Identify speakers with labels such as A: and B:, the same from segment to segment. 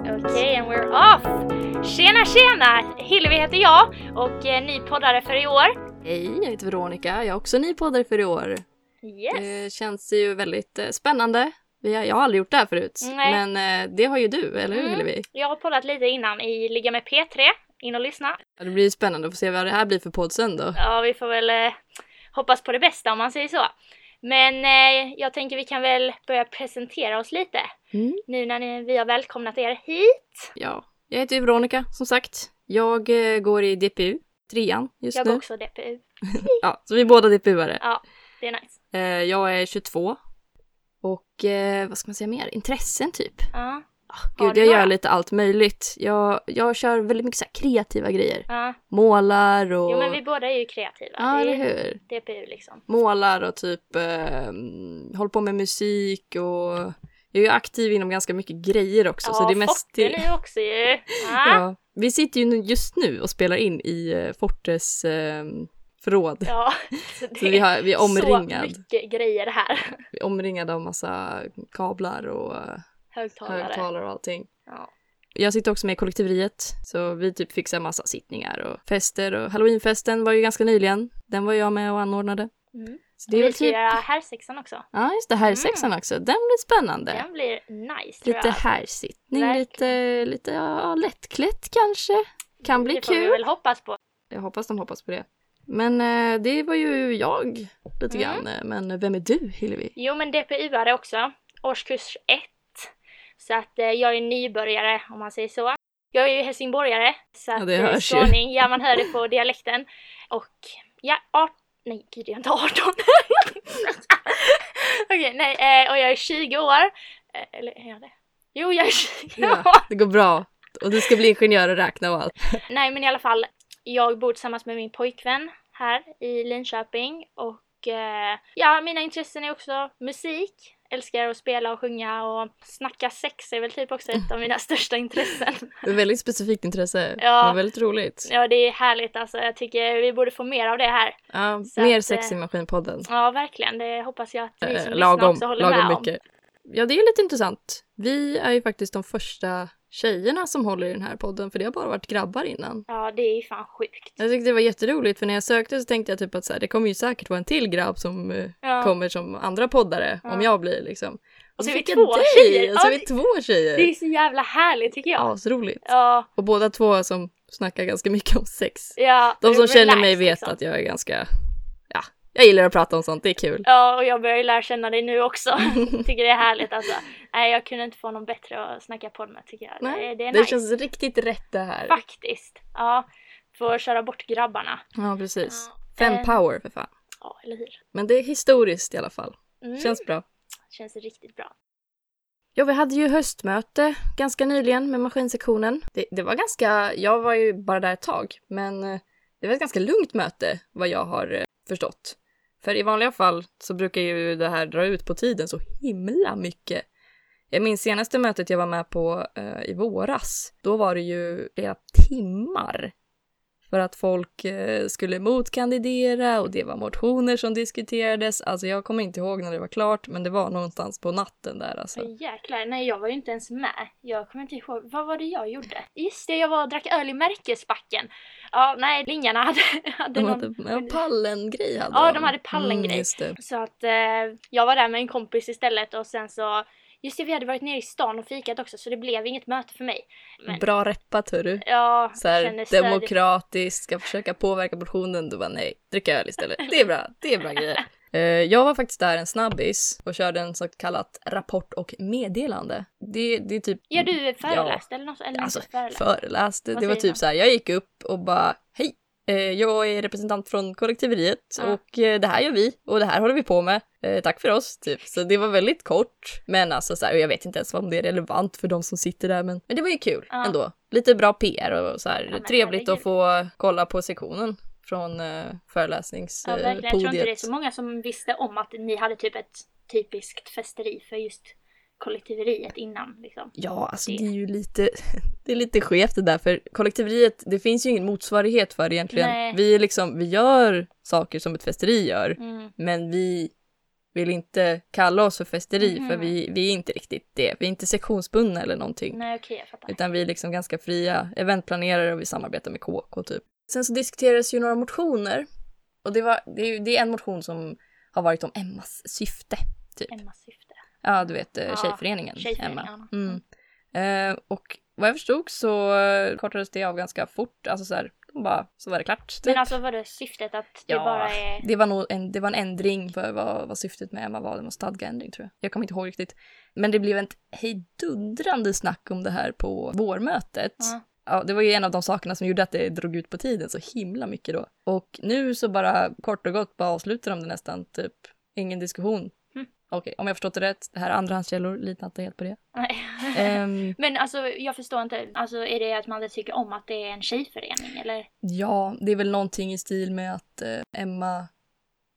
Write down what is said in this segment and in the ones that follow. A: Okej, and we're off! Tjena tjena! Hillevi heter jag och eh, ny poddare för i år.
B: Hej, jag heter Veronica. Jag är också ny poddare för i år.
A: Yes!
B: Det känns ju väldigt eh, spännande. Vi har, jag har aldrig gjort det här förut.
A: Nej.
B: Men eh, det har ju du, eller hur
A: Mm.
B: Hillevi?
A: Jag har poddat lite innan i Ligga med P3. In och lyssna.
B: Ja, Det blir ju spännande att få se vad det här blir för podd sen då.
A: Ja, vi får väl eh, hoppas på det bästa om man säger så. Men eh, jag tänker vi kan väl börja presentera oss lite.
B: Mm.
A: Nu när ni, vi har välkomnat er hit.
B: Ja. Jag heter ju Veronica, som sagt. Jag eh, går i DPU, trean just
A: Jag
B: nu.
A: går också DPU.
B: Ja, så vi är båda DPU-are.
A: Det är nice.
B: Eh, jag är 22. Och eh, vad ska man säga mer? Intressen typ.
A: Ja, Har
B: Gud,
A: du
B: jag
A: några?
B: gör lite allt möjligt. Jag, jag kör väldigt mycket så här kreativa grejer.
A: ja.
B: Målar och...
A: Jo men vi båda är ju kreativa.
B: Ja,
A: det
B: eller
A: är
B: hur?
A: DPU liksom.
B: Målar och typ eh, håller på med musik och... Jag är ju aktiv inom ganska mycket grejer också, så det är mest...
A: Forte nu också ju. Ja.
B: ja. Vi sitter ju nu- just nu och spelar in i eh, Fortes eh, förråd.
A: Ja, så det
B: Så vi, har, vi är
A: så
B: omringad.
A: mycket grejer här.
B: Vi är omringade av massa kablar och eh,
A: Högtalare.
B: högtalare och allting.
A: Ja.
B: Jag sitter också med i kollektiveriet, så vi typ fixar massa sittningar och fester och halloweenfesten var ju ganska nyligen. Den var jag med och anordnade.
A: Mm.
B: Så det är
A: vi
B: väl
A: ska
B: typ...
A: göra herrsexan också.
B: Ja, just det, här sexan också. Den blir spännande.
A: Den blir nice Mm. tror
B: Lite
A: jag.
B: härsittning,
A: Verkligen.
B: lite, lite ja, lättklätt kanske. Kan bli
A: Mm, det får vi
B: kul.
A: väl hoppas på.
B: Jag hoppas de hoppas på det. Men eh, det var ju jag lite
A: Mm.
B: grann. eh, Men vem är du Hillevi?
A: Jo men DPU-are också. Årskurs 1. Så att eh, jag är nybörjare om man säger så. Jag är ju helsingborgare. Så att,
B: det
A: eh,
B: hörs ju.
A: skåning, Ja man hör det på dialekten. Och ja, art... Nej gud jag är inte 18. Okej, nej eh, och jag är 20 år. Eh, Eller är jag det? Jo jag är 20 år.
B: Ja, det går bra. Och du ska bli ingenjör och räkna och allt.
A: Nej men i alla fall, jag bor tillsammans med min pojkvän här i Linköping och eh, ja, mina intressen är också musik. Älskar att spela och sjunga och snacka sex är väl typ också ett av mina största intressen.
B: Det är väldigt specifikt intresse.
A: Ja.
B: Det var väldigt roligt.
A: Ja, det är härligt alltså. Jag tycker vi borde få mer av det här.
B: Ja,
A: Så
B: mer
A: att,
B: sex i maskinpodden.
A: Ja, verkligen. Det hoppas jag att ni som
B: Eh,
A: lyssnar
B: lagom,
A: också håller
B: lagom
A: med
B: mycket. Ja, det är lite intressant. Vi är ju faktiskt de första tjejerna som håller i den här podden, för det har bara varit grabbar innan.
A: om. Ja, det är ju fan sjukt.
B: Jag tyckte det var jätteroligt, för när jag sökte så tänkte jag typ att så här, det kommer ju säkert vara en till grabb som eh,
A: Ja.
B: kommer som andra poddare,
A: Ja.
B: om jag blir liksom.
A: Och så är vi
B: fick jag
A: två
B: dig,
A: tjejer.
B: Och så är
A: Ja,
B: vi två tjejer!
A: Det är så jävla härligt tycker jag.
B: Asroligt.
A: Ja,
B: Och båda två som snackar ganska mycket om sex.
A: ja.
B: De som känner mig
A: relax,
B: vet
A: liksom.
B: att jag är ganska, ja, jag gillar att prata om sånt, det är kul.
A: Ja, och jag börjar ju lära känna dig nu också. tycker det är härligt alltså. Nej, jag kunde inte få någon bättre att snacka på med tycker jag. det,
B: Nej,
A: det är
B: det
A: nice.
B: känns riktigt rätt det här.
A: Faktiskt. Ja, får köra bort grabbarna.
B: Ja, precis.
A: Ja.
B: Fem
A: Eh.
B: power för fan.
A: Ja, eller hur?
B: Men det är historiskt i alla fall.
A: Mm. Känns...
B: Känns bra.
A: riktigt bra.
B: Ja, vi hade ju höstmöte ganska nyligen med maskinsektionen. Det, det var ganska, jag var ju bara där ett tag, men eh, det var ett ganska lugnt möte vad jag har eh, förstått. För i vanliga fall så brukar ju det här dra ut på tiden så himla mycket. Jag minns senaste mötet jag var med på eh, i våras, då var det ju flera timmar för att folk eh, skulle motkandidera och det var motioner som diskuterades. Alltså jag kommer inte ihåg när det var klart, men det var någonstans på natten där alltså.
A: Så. Jäklar, nej jag var ju inte ens med. Jag kommer inte ihåg, vad var det jag gjorde? Just det, jag var och drack öl i Märkesbacken. Ja, nej, lingarna hade, hade
B: De
A: någon...
B: hade ja, pallengrej. Hade
A: Ja, de hade pallengrej.
B: Mm, just det.
A: Så att eh, jag var där med en kompis istället och sen så... Just det, vi hade varit nere i stan och fikat också så det blev inget möte för mig. Men-
B: Bra reppat hörru.
A: Ja,
B: Så här,
A: känner stöd.
B: demokratiskt, ska försöka påverka portionen. Du bara nej, drick öl istället. Det är bra, det är bra grejer. Eh, Jag var faktiskt där en snabbis och körde en så kallat rapport och meddelande. Det, det är typ...
A: Ja, du föreläste eller något? Eller
B: Alltså,
A: inte föreläst.
B: föreläste.
A: Vad
B: Det var
A: säger man?
B: typ så här, jag gick upp och bara hej, eh, jag är representant från kollektiveriet
A: Ja.
B: och eh, det här gör vi och det här håller vi på med. Eh, Tack för oss, typ. Så det var väldigt kort, men alltså så här, och jag vet inte ens om det är relevant för de som sitter där, men, men det var ju kul
A: Ja.
B: ändå. Lite bra PR och så här,
A: men
B: trevligt att
A: herregud.
B: få kolla på sektionen från eh,
A: ja, verkligen. Jag
B: föreläsningspodiet.
A: tror inte det är så många som visste om att ni hade typ ett typiskt festeri för just kollektiveriet innan. Liksom.
B: Ja, alltså
A: Det.
B: det är ju lite, det är lite skevt det där, för kollektiveriet, det finns ju ingen motsvarighet för det egentligen.
A: Nej.
B: Vi, är liksom, vi gör saker som ett festeri gör,
A: Mm.
B: men vi vill inte kalla oss för festeri
A: Mhm.
B: för vi, vi är inte riktigt det. Vi är inte sektionsbundna eller någonting.
A: Nej okej, jag fattar.
B: Utan vi är liksom ganska fria eventplanerare och vi samarbetar med KK typ. Sen så diskuterades ju några motioner. Och det, var, det, är, ju- det är en motion som har varit om Emmas syfte. Typ.
A: Emmas syfte.
B: Ja, du vet eh,
A: Ja,
B: tjejföreningen,
A: tjejföreningen,
B: Emma.
A: ja.
B: Mm. Eh, och vad jag förstod så eh, kortades det av ganska fort. Alltså så här, de bara, så var det klart. Typ.
A: Men alltså var det syftet att det
B: Ja.
A: bara är...
B: Det var, nog en, det var en ändring för vad, vad syftet med Emma var. Det var en stadgeändring tror jag. Jag kommer inte ihåg riktigt. Men det blev ett hejdundrande snack om det här på vårmötet.
A: Ja.
B: Ja, det var ju en av de sakerna som gjorde att det drog ut på tiden så himla mycket då. Och nu så bara kort och gott bara avslutar de det nästan, typ ingen diskussion.
A: Mm.
B: Okej, om jag förstått det rätt, det här är andrahandskällor, litar inte helt på det.
A: Nej.
B: Ehm,
A: Men alltså jag förstår inte, alltså är det att man inte tycker om att det är en tjejförening eller?
B: Ja, det är väl någonting i stil med att eh, Emma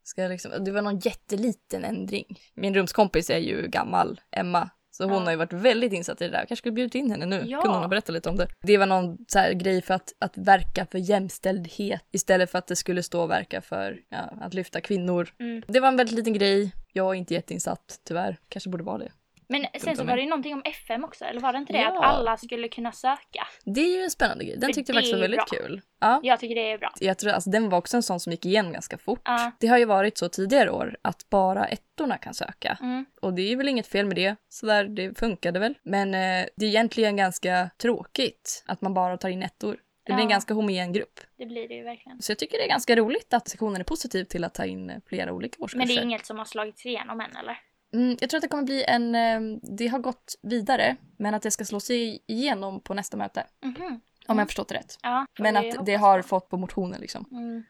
B: ska liksom... Det var någon jätteliten ändring. Min rumskompis är ju gammal, Emma. Så hon
A: Ja.
B: har ju varit väldigt insatt i det där. Jag kanske skulle bjuda in henne nu.
A: Ja.
B: Kunde hon ha berättat lite om det. Det var någon så här grej för att, att verka för jämställdhet istället för att det skulle stå verka för ja, att lyfta kvinnor.
A: Mm.
B: Det var en väldigt liten grej. Jag är inte jätteinsatt, tyvärr. Kanske borde vara det.
A: Men sen så var
B: om mig.
A: det ju någonting om FM också, eller var det inte det?
B: Ja.
A: Att alla skulle kunna söka.
B: Det är ju en spännande grej. Den
A: För
B: tyckte jag
A: det
B: faktiskt
A: är
B: var
A: ju
B: väldigt
A: bra.
B: kul. Ja.
A: Jag tycker det är bra.
B: Jag tror, alltså, den var också en sån som gick igen ganska fort.
A: Ja.
B: Det har ju varit så tidigare år att bara ettorna kan söka.
A: Mm.
B: Och det är väl inget fel med det, så där, det funkade väl. Men eh, det är egentligen ganska tråkigt att man bara tar in ettor. Det blir en
A: Ja.
B: ganska homogen grupp.
A: Det blir det ju verkligen.
B: Så jag tycker det är ganska roligt att sektionen är positiv till att ta in eh, flera olika årskurser.
A: Men det är inget som har slagits igenom än eller?
B: mm, jag tror att det kommer bli en... Eh, det har gått vidare, men att det ska slås i- igenom på nästa möte.
A: Mhm.
B: Om
A: Mm.
B: jag förstått det rätt.
A: Ja, får
B: Men
A: vi
B: att det
A: hoppas
B: har
A: på.
B: fått på motionen liksom.
A: Mm.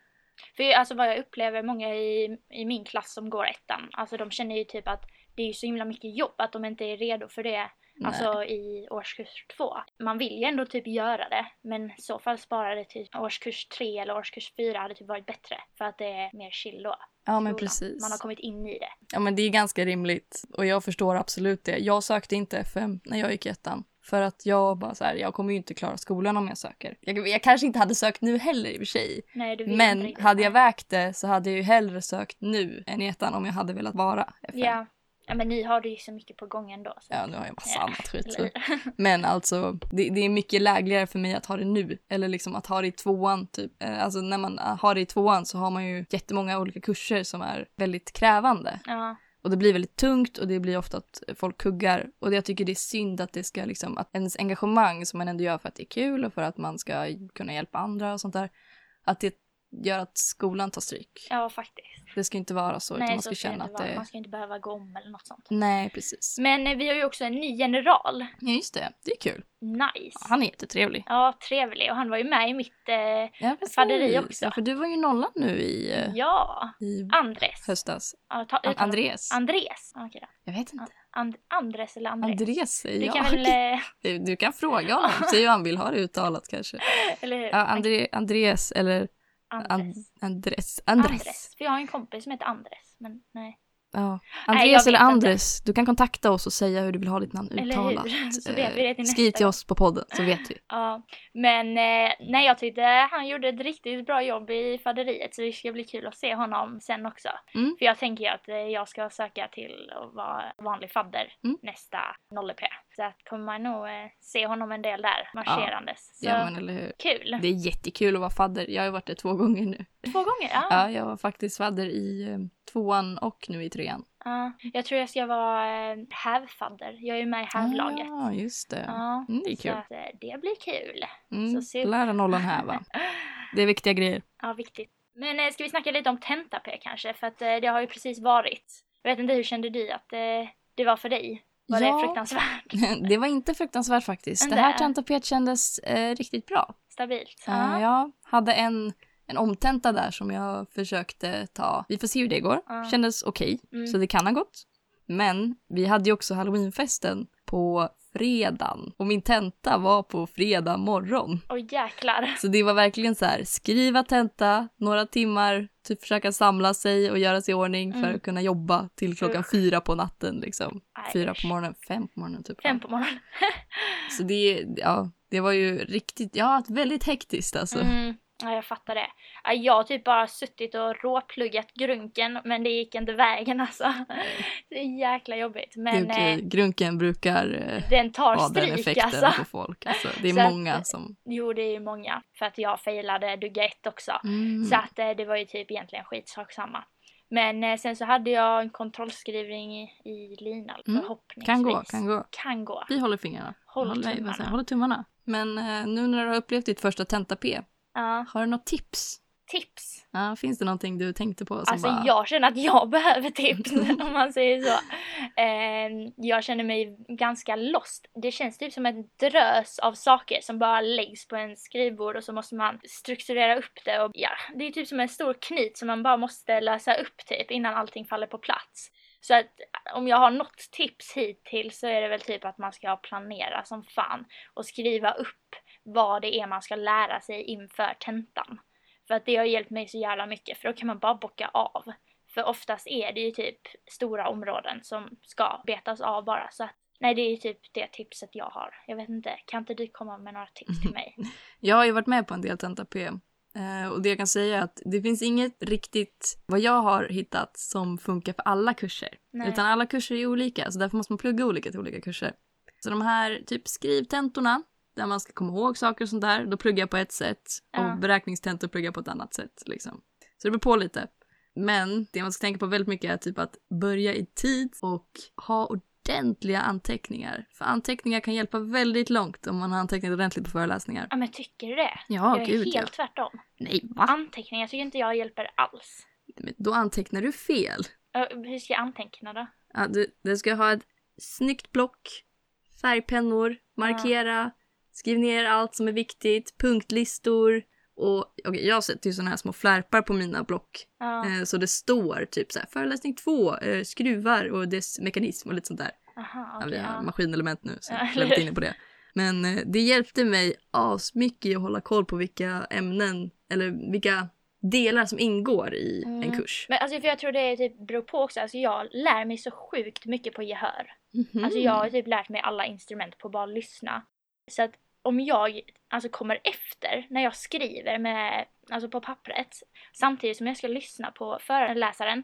A: För alltså vad jag upplever många i, i min klass som går ettan, alltså de känner ju typ att det är ju så himla mycket jobb att de inte är redo för det alltså i årskurs två. Man vill ju ändå typ göra det men i så fall spara det till årskurs tre eller årskurs fyra hade typ varit bättre för att det är mer chill då.
B: ja, men
A: skolan.
B: precis.
A: Man har kommit in i det.
B: Ja men det är ganska rimligt och jag förstår absolut det. Jag sökte inte FM när jag gick i ettan. För att jag bara så här, jag kommer ju inte klara skolan om jag söker. Jag, jag kanske inte hade sökt nu heller i och för sig.
A: Nej, du vill inte
B: Men
A: riktigt.
B: hade jag vägt det så hade jag ju hellre sökt nu än i ettan om jag hade velat vara FM.
A: Ja. ja, men ni har det ju så mycket på gång ändå. Så.
B: Ja, nu har jag massa
A: Ja,
B: annat skit.
A: eller
B: Men alltså, det, det är mycket lägligare för mig att ha det nu. Eller liksom att ha det i tvåan typ. Eh, Alltså när man eh, har det i tvåan så har man ju jättemånga olika kurser som är väldigt krävande.
A: Ja,
B: Och det blir väldigt tungt och det blir ofta att folk kuggar. Och jag tycker det är synd att det ska liksom, att ens engagemang som man ändå gör för att det är kul och för att man ska kunna hjälpa andra och sånt där. Att det gör att skolan tar stryk.
A: ja faktiskt.
B: Det ska inte vara så utan man ska,
A: så det
B: känna
A: inte
B: att
A: vara.
B: det... Mm.
A: Man ska inte behöva gå om eller något sånt.
B: Nej, precis.
A: Men eh, vi har ju också en ny general.
B: Ja, just det. Det är kul.
A: Nice.
B: Han är jättetrevlig.
A: Ja, trevlig. Och han var ju med i mitt, eh,
B: Ja, precis.
A: Faderi också.
B: Ja, för du var ju nollan nu i, eh,
A: ja,
B: i
A: Andres.
B: höstas.
A: Ja, ta,
B: An-
A: uttala-
B: Andres.
A: Andres. Ja, okej då.
B: Jag vet inte.
A: And, Andres eller Andres.
B: Andres säger
A: Du
B: jag.
A: kan väl, eh,
B: Du, du kan fråga honom. Säg hur han vill ha det uttalat kanske.
A: eller hur?
B: Ja, Andre, Andres eller
A: Andres.
B: Andres. Andres. Andres.
A: För jag har en kompis som heter Andres. Men nej.
B: Ja.
A: Nej, jag
B: Andres
A: vet
B: eller
A: inte.
B: Andres, du kan kontakta oss och säga hur du vill ha ditt namn
A: Eller hur?
B: uttalat.
A: Så vet vi det till
B: Eh, Skriv
A: nästa
B: till
A: gång.
B: oss på podden så vet vi.
A: Ja. Men eh, nej, jag tyckte han gjorde ett riktigt bra jobb i faderiet. Så det ska bli kul att se honom sen också.
B: Mm.
A: För jag tänker ju att eh, jag ska söka till att vara vanlig fadder
B: Mm.
A: nästa 0P. Så att kommer man nog eh, se honom en del där marscherandes. Så
B: Ja, men eller hur.
A: kul.
B: Det är jättekul att vara fadder. Jag har ju varit det två gånger nu.
A: Två gånger? Ja.
B: Ja, jag var faktiskt fadder i eh, tvåan och nu i trean.
A: Ja, jag tror jag ska vara eh, hävfadder. Jag är ju med i hävlaget.
B: Ah, Ja, just det.
A: Ja,
B: Mm, det är
A: så
B: kul.
A: att, eh, det blir kul.
B: Mm.
A: så se upp.
B: Lära nollan här va. Det är viktiga grejer.
A: Ja, viktigt. Men eh, ska vi snacka lite om tenta-P kanske? För att eh, det har ju precis varit. Jag vet inte, hur kände du att eh, det var för dig? Var
B: Ja.
A: det fruktansvärt
B: Det var inte fruktansvärt faktiskt. Det
A: Inte?
B: här tentapet kändes eh, riktigt bra.
A: stabilt?
B: Eh, jag hade en, en omtenta där som jag försökte ta. Vi får se hur det går.
A: Ja.
B: Kändes okej,
A: Mm.
B: så det kan ha gått. Men vi hade ju också halloweenfesten på fredagen och min tenta var på fredag morgon.
A: Åh jäklar.
B: Så det var verkligen så här, skriva tenta, några timmar, typ försöka samla sig och göra sig i ordning för
A: Mm.
B: att kunna jobba till klockan
A: Usch.
B: fyra på natten liksom.
A: Aj,
B: Fyra
A: usch.
B: på morgonen, fem på morgonen typ.
A: Fem på morgonen.
B: Så det, ja, det var ju riktigt, ja, väldigt hektiskt alltså.
A: Mm. Ja, jag fattar det. Ja, Jag har typ bara suttit och råpluggat grunken men det gick inte vägen alltså. Det är jäkla jobbigt. Men eh,
B: Grunken, grunken brukar eh,
A: den tar
B: ha den
A: stryk
B: effekten
A: alltså.
B: på folk. Alltså, det är
A: Så att-
B: många som...
A: Jo, det är ju många. För att jag failade dugga ett också.
B: Mm.
A: Så att eh, det var ju typ egentligen skitsak samma. Men eh, sen så hade jag en kontrollskrivning i, i lina
B: Mm.
A: förhoppningsvis.
B: Kan gå, kan gå.
A: Kan gå.
B: Vi håller fingrarna.
A: Håll
B: håller, vad säger jag?
A: tummarna.
B: håller tummarna. Men eh, nu när du har upplevt ditt första tenta-P,
A: Ja.
B: har du något tips?
A: Tips.
B: Ja, finns det någonting du tänkte på? Som
A: Alltså
B: bara,
A: jag känner att jag behöver tips om man säger så. Eh, jag känner mig ganska lost. Det känns typ som en drös av saker som bara läggs på en skrivbord och så måste man strukturera upp det och ja, det är typ som en stor knut som man bara måste lösa upp typ innan allting faller på plats. Så att om jag har något tips hittills så är det väl typ att man ska planera som fan och skriva upp vad det är man ska lära sig inför tentan. För att det har hjälpt mig så jävla mycket för då kan man bara bocka av. För oftast är det ju typ stora områden som ska betas av bara så att Nej det är ju typ det tipset jag har. Jag vet inte, kan inte du komma med några tips till mig?
B: Jag har ju varit med på en del tenta-P. eh, Och det jag kan säga är att det finns inget riktigt, vad jag har hittat, som funkar för alla kurser.
A: Nej.
B: Utan alla kurser är olika, så därför måste man plugga olika till olika kurser. Så de här typ skrivtentorna, där man ska komma ihåg saker och sånt där, då pluggar jag på ett sätt.
A: Ja.
B: Och beräkningstentor pluggar jag på ett annat sätt. Liksom. Så det beror på lite. Men det man ska tänka på väldigt mycket är typ att börja i tid och ha ordentliga anteckningar. För anteckningar kan hjälpa väldigt långt om man har antecknat ordentligt på föreläsningar.
A: Ja men tycker du det?
B: Ja,
A: jag är
B: gud ja.
A: helt tvärtom.
B: Nej, va?
A: Anteckningar tycker inte jag hjälper alls.
B: Men Då antecknar du fel.
A: Ö, Hur ska jag anteckna då?
B: Ja, du, du ska ha ett snyggt block, färgpennor, markera, skriv ner allt som är viktigt, punktlistor. Och okej, jag sätter ju sådana här små flärpar på mina block.
A: Ja,
B: Eh, så det står typ så här, föreläsning två, eh, skruvar och dess mekanism och lite sånt där.
A: aha,
B: Ja,
A: okej.
B: vi har
A: ja.
B: maskinelement nu, så
A: Ja,
B: jag
A: eller
B: är inte
A: hur?
B: inne på det. Men eh, det hjälpte mig asmycket att hålla koll på vilka ämnen, eller vilka delar som ingår i en
A: Mm.
B: kurs.
A: Men alltså för jag tror det är typ beror på också, alltså jag lär mig så sjukt mycket på gehör.
B: Mhm.
A: Alltså jag har typ lärt mig alla instrument på bara att lyssna. Så att om jag alltså kommer efter när jag skriver med, alltså på pappret samtidigt som jag ska lyssna på föreläsaren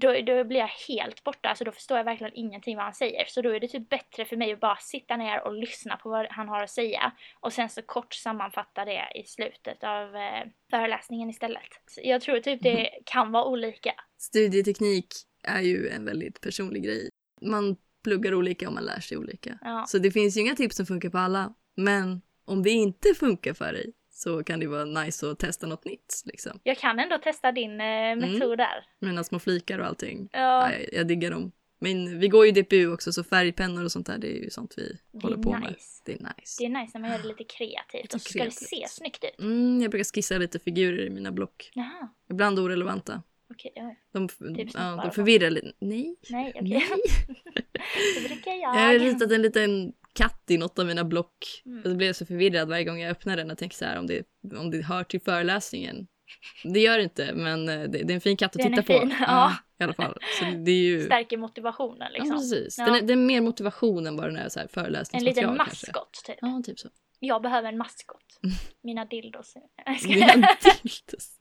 A: då, då blir jag helt borta, alltså då förstår jag verkligen ingenting vad han säger. Så då är det typ bättre för mig att bara sitta ner och lyssna på vad han har att säga och sen så kort sammanfatta det i slutet av eh, föreläsningen istället. Så jag tror typ det kan vara olika.
B: Studieteknik är ju en väldigt personlig grej. Man pluggar olika och man lär sig olika.
A: Ja.
B: Så det finns ju inga tips som funkar på alla. Men om det inte funkar för dig så kan det vara nice att testa något nytt. Liksom.
A: Jag kan ändå testa din eh, metod där.
B: Mina små flikar och allting.
A: Ja.
B: Ja, jag, jag diggar dem. Men vi går ju DPU också så färgpennor och sånt där det är ju sånt vi
A: är
B: håller på med.
A: nice.
B: Det är nice.
A: Det är nice när man gör det lite kreativt
B: Lite
A: och så ska det
B: kreativt.
A: se snyggt ut.
B: Mm, jag brukar skissa lite figurer i mina block.
A: Jaha,
B: Ibland orelevanta.
A: okej. oj.
B: De, ja,
A: snoppar
B: de
A: och
B: förvirrar lite. Nej.
A: Nej, okej.
B: Nej.
A: det brukar
B: Mm. Jag har
A: jag.
B: ritat en liten katt i något av mina block.
A: Mm.
B: Och då blev jag så förvirrad varje gång jag öppnade den och tänkte så här om det, om det hör till föreläsningen. Det gör det inte, men eh, det, det är en fin katt att
A: Den är
B: titta på. Mm,
A: fin, ja.
B: I alla fall. Så det, det är ju...
A: Stärker motivationen liksom.
B: Ja, precis.
A: Ja.
B: Den, är, den är mer motivation än bara den här, så här
A: en
B: föreläsningsmaterial
A: liten
B: kanske.
A: maskot typ.
B: Ja, Mm. typ så.
A: Jag behöver en maskot. Mina dildos. Jag ska-
B: Det är en tiltus.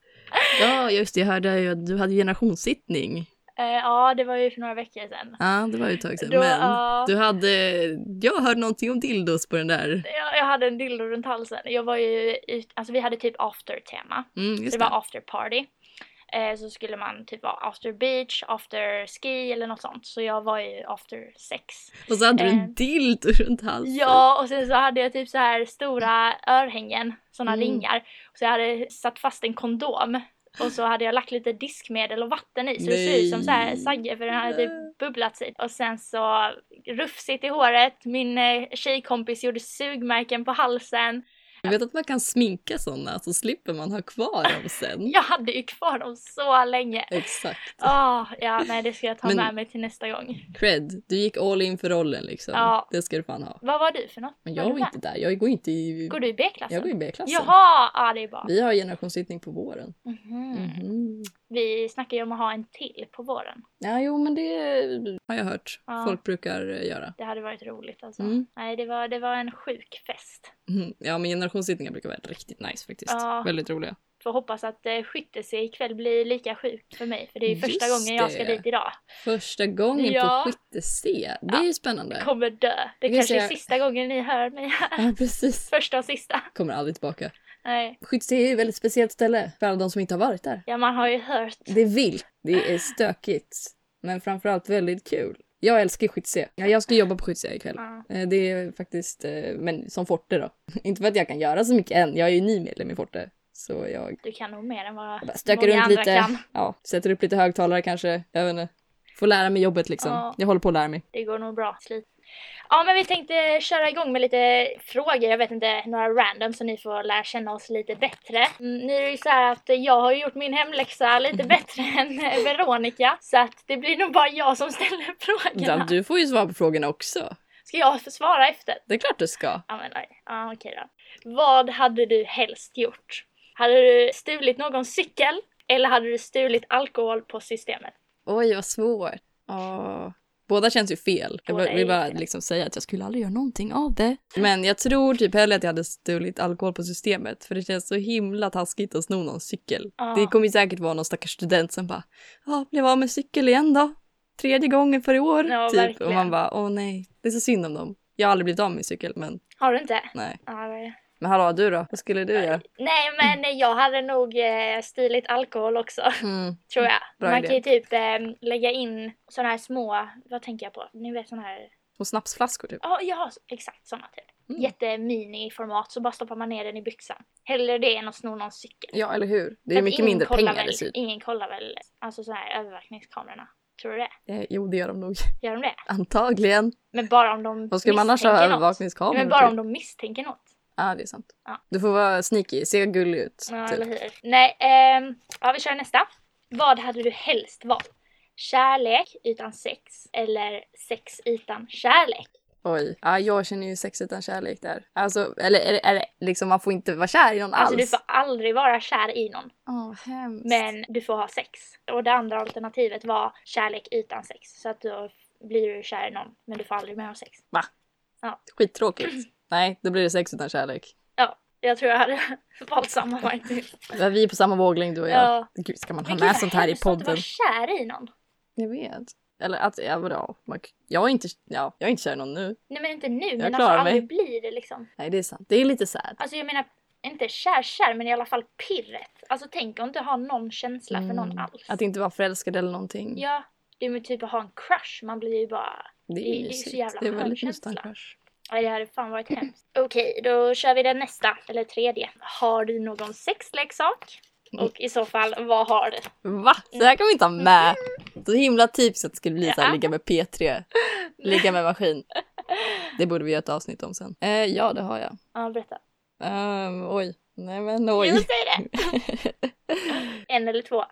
B: Ja, just det. Jag hörde ju att du hade generationssittning.
A: Eh, ja, det var ju för några veckor sedan.
B: Ja, det var ju ett tag sedan.
A: Då,
B: men
A: ja.
B: du hade... Jag hörde någonting om dildos på den där.
A: Jag, jag hade en dildo runt halsen. Jag var ju ut, alltså vi hade typ after-tema.
B: Mm, just
A: Så det var after party. Eh, så skulle man typ vara after beach, after ski eller något sånt. Så jag var ju after sex.
B: Och så hade du
A: eh,
B: en dildo runt halsen.
A: Ja, och sen så hade jag typ så här stora örhängen, sådana
B: Mm.
A: ringar. Så jag hade satt fast en kondom och så hade jag lagt lite diskmedel och vatten i så det ser ut som så här
B: Nej.
A: sagge för den hade typ bubblat sig. Och sen så rufsigt i håret, min eh, tjejkompis gjorde sugmärken på halsen.
B: Jag vet att man kan sminka sådana så slipper man ha kvar dem sen.
A: Jag hade ju kvar dem så länge.
B: Exakt.
A: Åh, ja, nej det ska jag ta
B: Men-
A: med mig till nästa gång.
B: Cred, du gick all in för rollen liksom.
A: Ja.
B: Det ska du fan ha.
A: Vad var du för något?
B: Men
A: Var du
B: jag är
A: med?
B: inte där, jag går inte i...
A: Går du i B-klassen?
B: Jag går i B-klassen.
A: Jaha, ja det är bra.
B: Vi har generationssittning på våren.
A: Mhm.
B: Mhm.
A: Vi snackar ju om att ha en till på våren.
B: Ja, jo men det har jag hört.
A: Ja.
B: Folk brukar eh, göra.
A: Det hade varit roligt alltså.
B: Mm.
A: Nej, det var, det var en sjuk fest.
B: Mhm. Ja, men generationssittningar brukar vara riktigt nice faktiskt.
A: Ja.
B: Väldigt roliga.
A: Får hoppas att eh, skyttese ikväll blir lika sjuk för mig, för det är ju första
B: Just
A: gången jag ska
B: det.
A: dit idag.
B: Första gången
A: Ja.
B: på skytte-C. Det
A: Ja.
B: är ju spännande.
A: Kommer dö. Det
B: Vi
A: kanske är
B: ser.
A: sista gången ni hör mig här.
B: Ja, precis.
A: Första och sista.
B: Kommer aldrig tillbaka.
A: Nej.
B: Skytte-C är ju ett väldigt speciellt ställe för alla de som inte har varit där.
A: Ja, man har ju hört.
B: Det är vilt. Det är stökigt. Men framförallt väldigt kul. Jag älskar skytte-C. Ja, jag ska jobba på skytte-C ikväll.
A: Ja.
B: Eh, Det är faktiskt, eh, men som Forte då. Inte för att jag kan göra så mycket än, jag är ju ny medlem i Forte. Så jag,
A: Du kan nog mer än vad
B: jag bara stökar
A: många
B: runt
A: andra
B: lite,
A: kan.
B: ja, sätter upp lite högtalare kanske, jag vet inte. Får lära mig jobbet liksom.
A: Ja.
B: Jag håller på att lära mig.
A: Det går nog bra. Slit. Ja, men vi tänkte köra igång med lite frågor. Jag vet inte, några random så ni får lära känna oss lite bättre. Mm, Nu är det ju så här att jag har ju gjort min hemläxa lite bättre än eh, Veronica. Så att det blir nog bara jag som ställer
B: Ja,
A: frågorna.
B: du får ju svara på frågorna också.
A: Ska jag svara efter?
B: Det är klart du ska.
A: Ja, men nej. Ja, okej då. Vad hade du helst gjort? Hade du stulit någon cykel? Eller hade du stulit alkohol på systemet?
B: Oj, vad svårt. Åh. Båda känns ju fel. Jag
A: Båda är
B: vill bara
A: fel.
B: liksom säga att jag skulle aldrig göra någonting av det. Men jag tror typ hellre att jag hade stulit alkohol på systemet. För det känns så himla taskigt att sno någon cykel.
A: Ja.
B: Det kommer ju säkert vara någon stackars student som bara ja, blev av med cykel igen då. Tredje gången för i år.
A: Ja,
B: typ.
A: verkligen.
B: Och man bara, åh nej. Det är så synd om dem. Jag har aldrig blivit av med min cykel, men
A: Har du inte?
B: nej.
A: Ja, det...
B: Men hallå, du då? Vad skulle du göra?
A: Nej, men jag hade nog eh, stulit alkohol också.
B: Mm.
A: Tror jag.
B: Bra
A: Man
B: idé.
A: kan ju typ eh, lägga in såna här små, vad tänker jag på? Ni vet såna här,
B: Små snapsflaskor typ.
A: ja ja, exakt såna typ.
B: Mm.
A: Jättemini i format så bara stoppar man ner den i byxan. Hellre det än att sno någon cykel.
B: Ja, eller hur? Det
A: För
B: är
A: att
B: mycket
A: ingen
B: mindre
A: kollar
B: pengar
A: väl,
B: dessutom.
A: Ingen kollar väl, alltså såna här övervakningskamerorna. Tror du det?
B: Eh, Jo, det gör de nog.
A: Gör de det?
B: Antagligen.
A: Men bara om de
B: Vad ska man annars ha
A: misstänker något.
B: övervakningskameror
A: Nej, Men bara
B: till?
A: om de misstänker något.
B: Ja, det är sant.
A: Ja.
B: Du får vara sneaky, se gullig ut.
A: Ja,
B: typ.
A: eller hur. Nej, ehm, ja vi kör nästa. Vad hade du helst valt? Kärlek utan sex eller sex utan kärlek?
B: Oj. Ja, jag känner ju sex utan kärlek där. Alltså, eller, eller, eller liksom man får inte vara kär i någon
A: Alltså du
B: alls.
A: får aldrig vara kär i någon,
B: Åh, hemskt.
A: men du får ha sex. Och det andra alternativet var kärlek utan sex, så att då blir du kär i någon, men du får aldrig mer ha sex.
B: Skittråkigt. Nej, då blir det sex utan kärlek.
A: Jag tror jag hade valt samma faktiskt.
B: Men Vi är på samma våglängd du och jag.
A: Ja.
B: Gud, ska man ha
A: Men
B: med
A: gud,
B: sånt här i
A: hemskt att inte
B: podden?
A: vara kär i någon.
B: Jag vet. Eller att, ja, vadå? Man- Jag är inte, ja, jag är inte kär i någon nu.
A: Nej men inte nu, men alltså
B: klarar mig.
A: aldrig blir det liksom.
B: Nej, det är sant. Det är lite sad.
A: Alltså jag menar, inte kär-kär men i alla fall pirret. Alltså tänk om du har någon känsla för någon
B: Mm.
A: alls.
B: Att inte vara förälskad eller någonting.
A: Ja, det är ju typ att ha en crush, man blir ju bara...
B: det
A: det är
B: är
A: ju så
B: mysigt.
A: jävla
B: Det är
A: skön
B: väldigt mysigt.
A: känsla.
B: annars.
A: Nej det hade fan varit hemskt. Okej, då kör vi den nästa, eller tredje. Har du någon sexleksak?
B: Mm.
A: Och i så fall, vad har du?
B: Va? Så här kan vi inte ha
A: Mm.
B: med! Så himla typiskt att det skulle bli så här, ligga med P3. Ligga med maskin. Det borde vi göra ett avsnitt om sen. Eh, ja, det har jag.
A: Ja, berätta.
B: Ehm, oj. Nej men
A: Jo,
B: oj.
A: säg det! en eller två?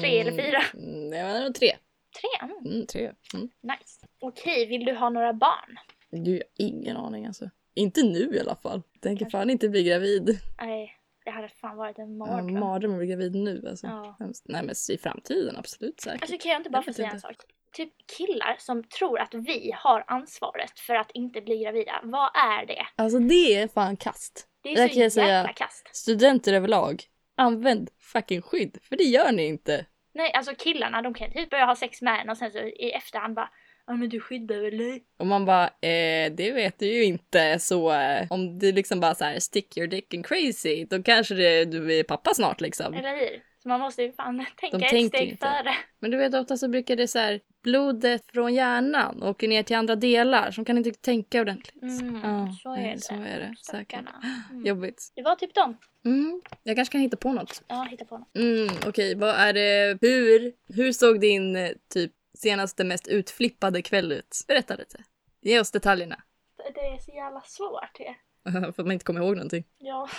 A: Tre eller fyra?
B: Mm, nej men det var tre.
A: Tre? Mm,
B: Mm, tre. Mm.
A: nice. Okej, vill du ha några barn?
B: Gud, jag har ingen aning alltså. Inte nu i alla fall. Tänker fan inte bli gravid.
A: Nej, det hade fan varit en
B: Ja,
A: mardröm.
B: Mardröm att bli gravid nu alltså.
A: Ja.
B: Hemskt. Nej men i framtiden absolut säkert.
A: Alltså kan jag inte bara
B: Jag
A: få
B: vet
A: säga en
B: inte.
A: sak? Typ killar som tror att vi har ansvaret för att inte bli gravida. Vad är det?
B: Alltså det är fan kast.
A: Det
B: Det
A: är
B: här
A: så
B: kan jag
A: jävla
B: säga.
A: kast.
B: Studenter överlag, använd fucking skydd. För det gör ni inte.
A: Nej, alltså killarna de kan typ börja ha sex med en och sen så i efterhand bara Ja men du skyddar väl dig?
B: Och man bara, eh, det vet du ju inte. Så eh, om du liksom bara så här stick your dick and crazy, då kanske det, du är pappa snart liksom.
A: Eller hur? Så man måste ju fan tänka ett
B: tänker
A: steg
B: inte.
A: före.
B: Men du vet ofta så brukar det så här, blodet från hjärnan åker ner till andra delar som kan inte tänka ordentligt.
A: Mm,
B: Ja,
A: så är
B: nej,
A: det.
B: Så är det säkert.
A: Stackarna. Mm.
B: Jobbigt.
A: Det var typ dem.
B: Mm, jag kanske kan hitta på något.
A: Ja, hitta på något.
B: Mm, Okej, vad är det? Hur, hur såg din eh, typ senaste mest utflippade kväll ut? Berätta lite. Ge oss detaljerna.
A: Det är så jävla svårt det.
B: För att man inte kommer ihåg någonting.
A: Ja.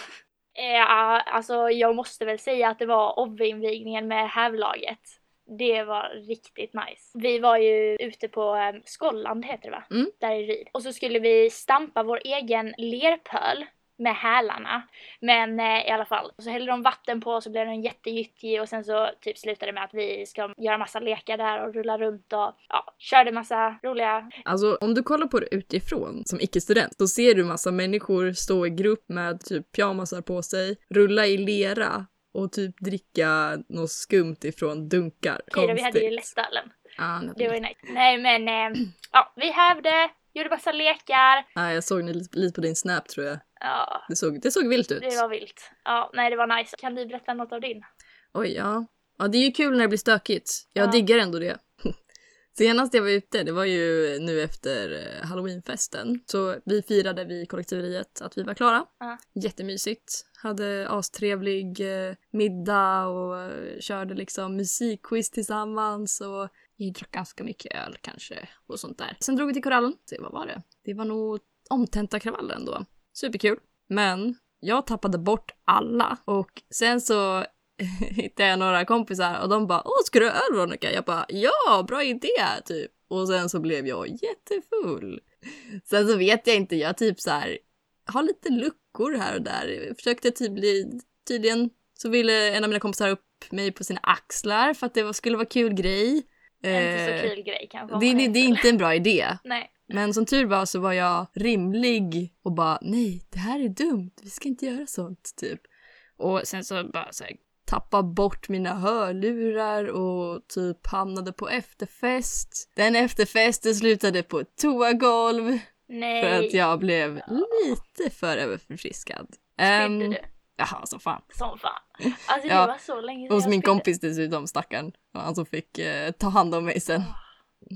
A: Eh, alltså jag måste väl säga att det var OB-invigningen med hävlaget. Det var riktigt nice. Vi var ju ute på eh, Skolland heter det va?
B: Mm.
A: Där i Ryd. Och så skulle vi stampa vår egen lerpöl med hälarna. Men eh, i alla fall, så hällde de vatten på så blev den jättegyttig och sen så typ slutade det med att vi ska göra massa lekar där och rulla runt och ja, körde massa roliga...
B: Alltså om du kollar på det utifrån som icke-student, då ser du massa människor stå i grupp med typ pyjamasar på sig, rulla i lera och typ dricka något skumt ifrån dunkar.
A: Okej då, vi hade ju
B: Konstigt.
A: lättölen.
B: Ah, nej,
A: Det var ju nice. Nej men eh, ja, vi hävde, gjorde massa lekar.
B: nej, jag såg lite, lite på din snap tror jag.
A: Ja,
B: Det såg, det såg vilt ut.
A: det var vilt. Ja, nej det var nice. Kan du berätta något av din?
B: Oj, ja. Ja, det är ju kul när det blir stökigt. Jag
A: Ja.
B: diggar ändå det. Senast jag var ute, det var ju nu efter eh, halloweenfesten. Så vi firade vid kollektiveriet att vi var klara.
A: Ja.
B: Jättemysigt. Hade astrevlig eh, middag och eh, körde liksom musikquiz tillsammans och vi drack ganska mycket öl kanske och sånt där. Sen drog vi till Korallen. Se, vad var det? Det var nog Omtentakravallen då. Superkul. Men jag tappade bort alla och sen så hittade jag några kompisar och de bara “Åh, ska du ha öl Veronica?” Jag bara “Ja, bra idé!” typ. Och sen så blev jag jättefull. Sen så vet jag inte, jag typ så här har lite luckor här och där. Försökte typ bli, tydligen så ville en av mina kompisar upp mig på sina axlar för att det var, skulle vara kul grej.
A: Inte
B: Eh,
A: så kul grej kanske. om
B: det,
A: man
B: det,
A: är
B: det är
A: full.
B: inte en bra idé.
A: Nej.
B: Men som tur var så var jag rimlig och bara nej, det här är dumt, vi ska inte göra sånt typ. Och sen så bara så här, tappa bort mina hörlurar och typ hamnade på efterfest. Den efterfesten slutade på ett toagolv
A: Nej. typ
B: för att jag blev lite för överförfriskad. Ehm,
A: Spydde du?
B: Jaha, så fan.
A: Som fan. Alltså det
B: Ja.
A: var så länge sedan
B: Hos
A: jag
B: min
A: spydde.
B: kompis dessutom, stackaren. Det var Han som fick eh, ta hand om mig sen.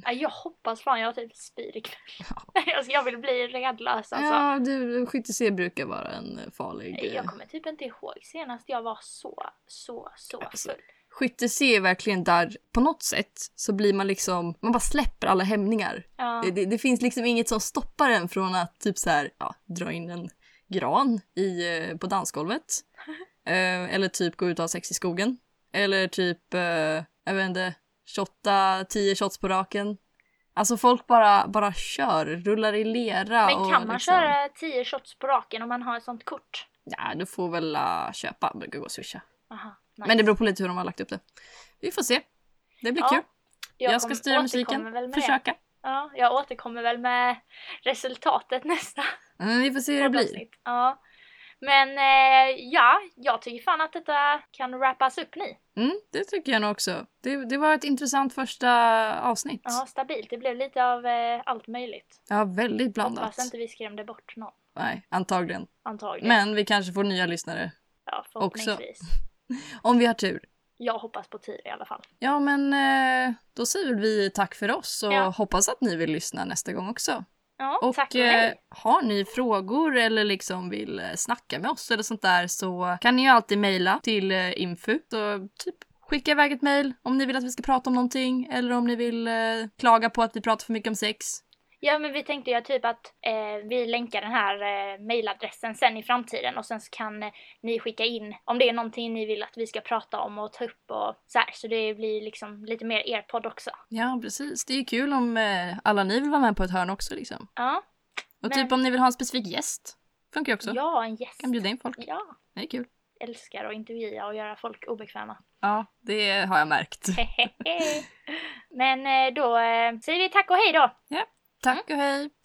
A: Ja, Jag hoppas fan jag typ spyr ikväll. Alltså jag vill bli redlös alltså.
B: Ja, du, skytte-C brukar vara en eh, farlig... eh,
A: Jag kommer typ inte ihåg senast jag var så, så, så
B: Alltså,
A: full.
B: Skytte-C är verkligen där, på något sätt så blir man liksom, man bara släpper alla hämningar.
A: Ja.
B: Det, det, det finns liksom inget som stoppar en från att typ så här, ja, dra in en gran i, eh, på dansgolvet. Eh, eller typ gå ut och ha sex i skogen. Eller typ, eh, jag vet inte, shotta, tio shots på raken. Alltså folk bara, bara kör, rullar i lera
A: Men
B: och
A: kan man
B: liksom,
A: köra 10 shots på raken om man har ett sånt kort?
B: Ja, du får väl eh, köpa, det brukar gå att swisha.
A: Aha, nice.
B: Men det beror på lite hur de har lagt upp det. Vi får se. Det blir
A: Ja,
B: kul. Jag,
A: kommer-
B: ska styra musiken.
A: återkommer väl med det.
B: Försöka.
A: Ja, jag återkommer väl med resultatet nästa
B: Mm, vi får se hur det blir.
A: poddavsnitt. Ja. Men eh, ja, jag tycker fan att detta kan wrappas upp nu.
B: Mm, det tycker jag nog också. Det, det var ett intressant första avsnitt.
A: Ja, stabilt. Det blev lite av eh, allt möjligt.
B: Ja, väldigt blandat.
A: Hoppas inte vi skrämde bort någon.
B: Nej, antagligen.
A: Antagligen.
B: Men vi kanske får nya lyssnare.
A: ja, förhoppningsvis.
B: Om vi har tur.
A: Jag hoppas på tid i alla fall.
B: Ja, men eh, då säger väl vi tack för oss och
A: Ja.
B: hoppas att ni vill lyssna nästa gång också.
A: Ja,
B: Och
A: tack och
B: eh,
A: hej.
B: har ni frågor eller liksom vill eh, snacka med oss eller sånt där så kan ni ju alltid mejla till eh, info. Så typ skicka iväg ett mejl om ni vill att vi ska prata om någonting eller om ni vill eh, klaga på att vi pratar för mycket om sex.
A: Ja, men vi tänkte ju typ att eh, vi länkar den här eh, mailadressen sen i framtiden och sen så kan eh, ni skicka in om det är någonting ni vill att vi ska prata om och ta upp och så här. Så det blir liksom lite mer er podd också.
B: Ja, precis. Det är ju kul om eh, alla ni vill vara med på ett hörn också liksom.
A: Ja,
B: Och
A: Men-
B: typ om ni vill ha en specifik gäst. Funkar ju också.
A: ja en gäst.
B: Kan bjuda in folk.
A: Ja,
B: Det är kul.
A: älskar att intervjua och göra folk obekväma.
B: Ja, det har jag märkt.
A: men eh, då eh, säger vi tack och hej då!
B: Tack och hej!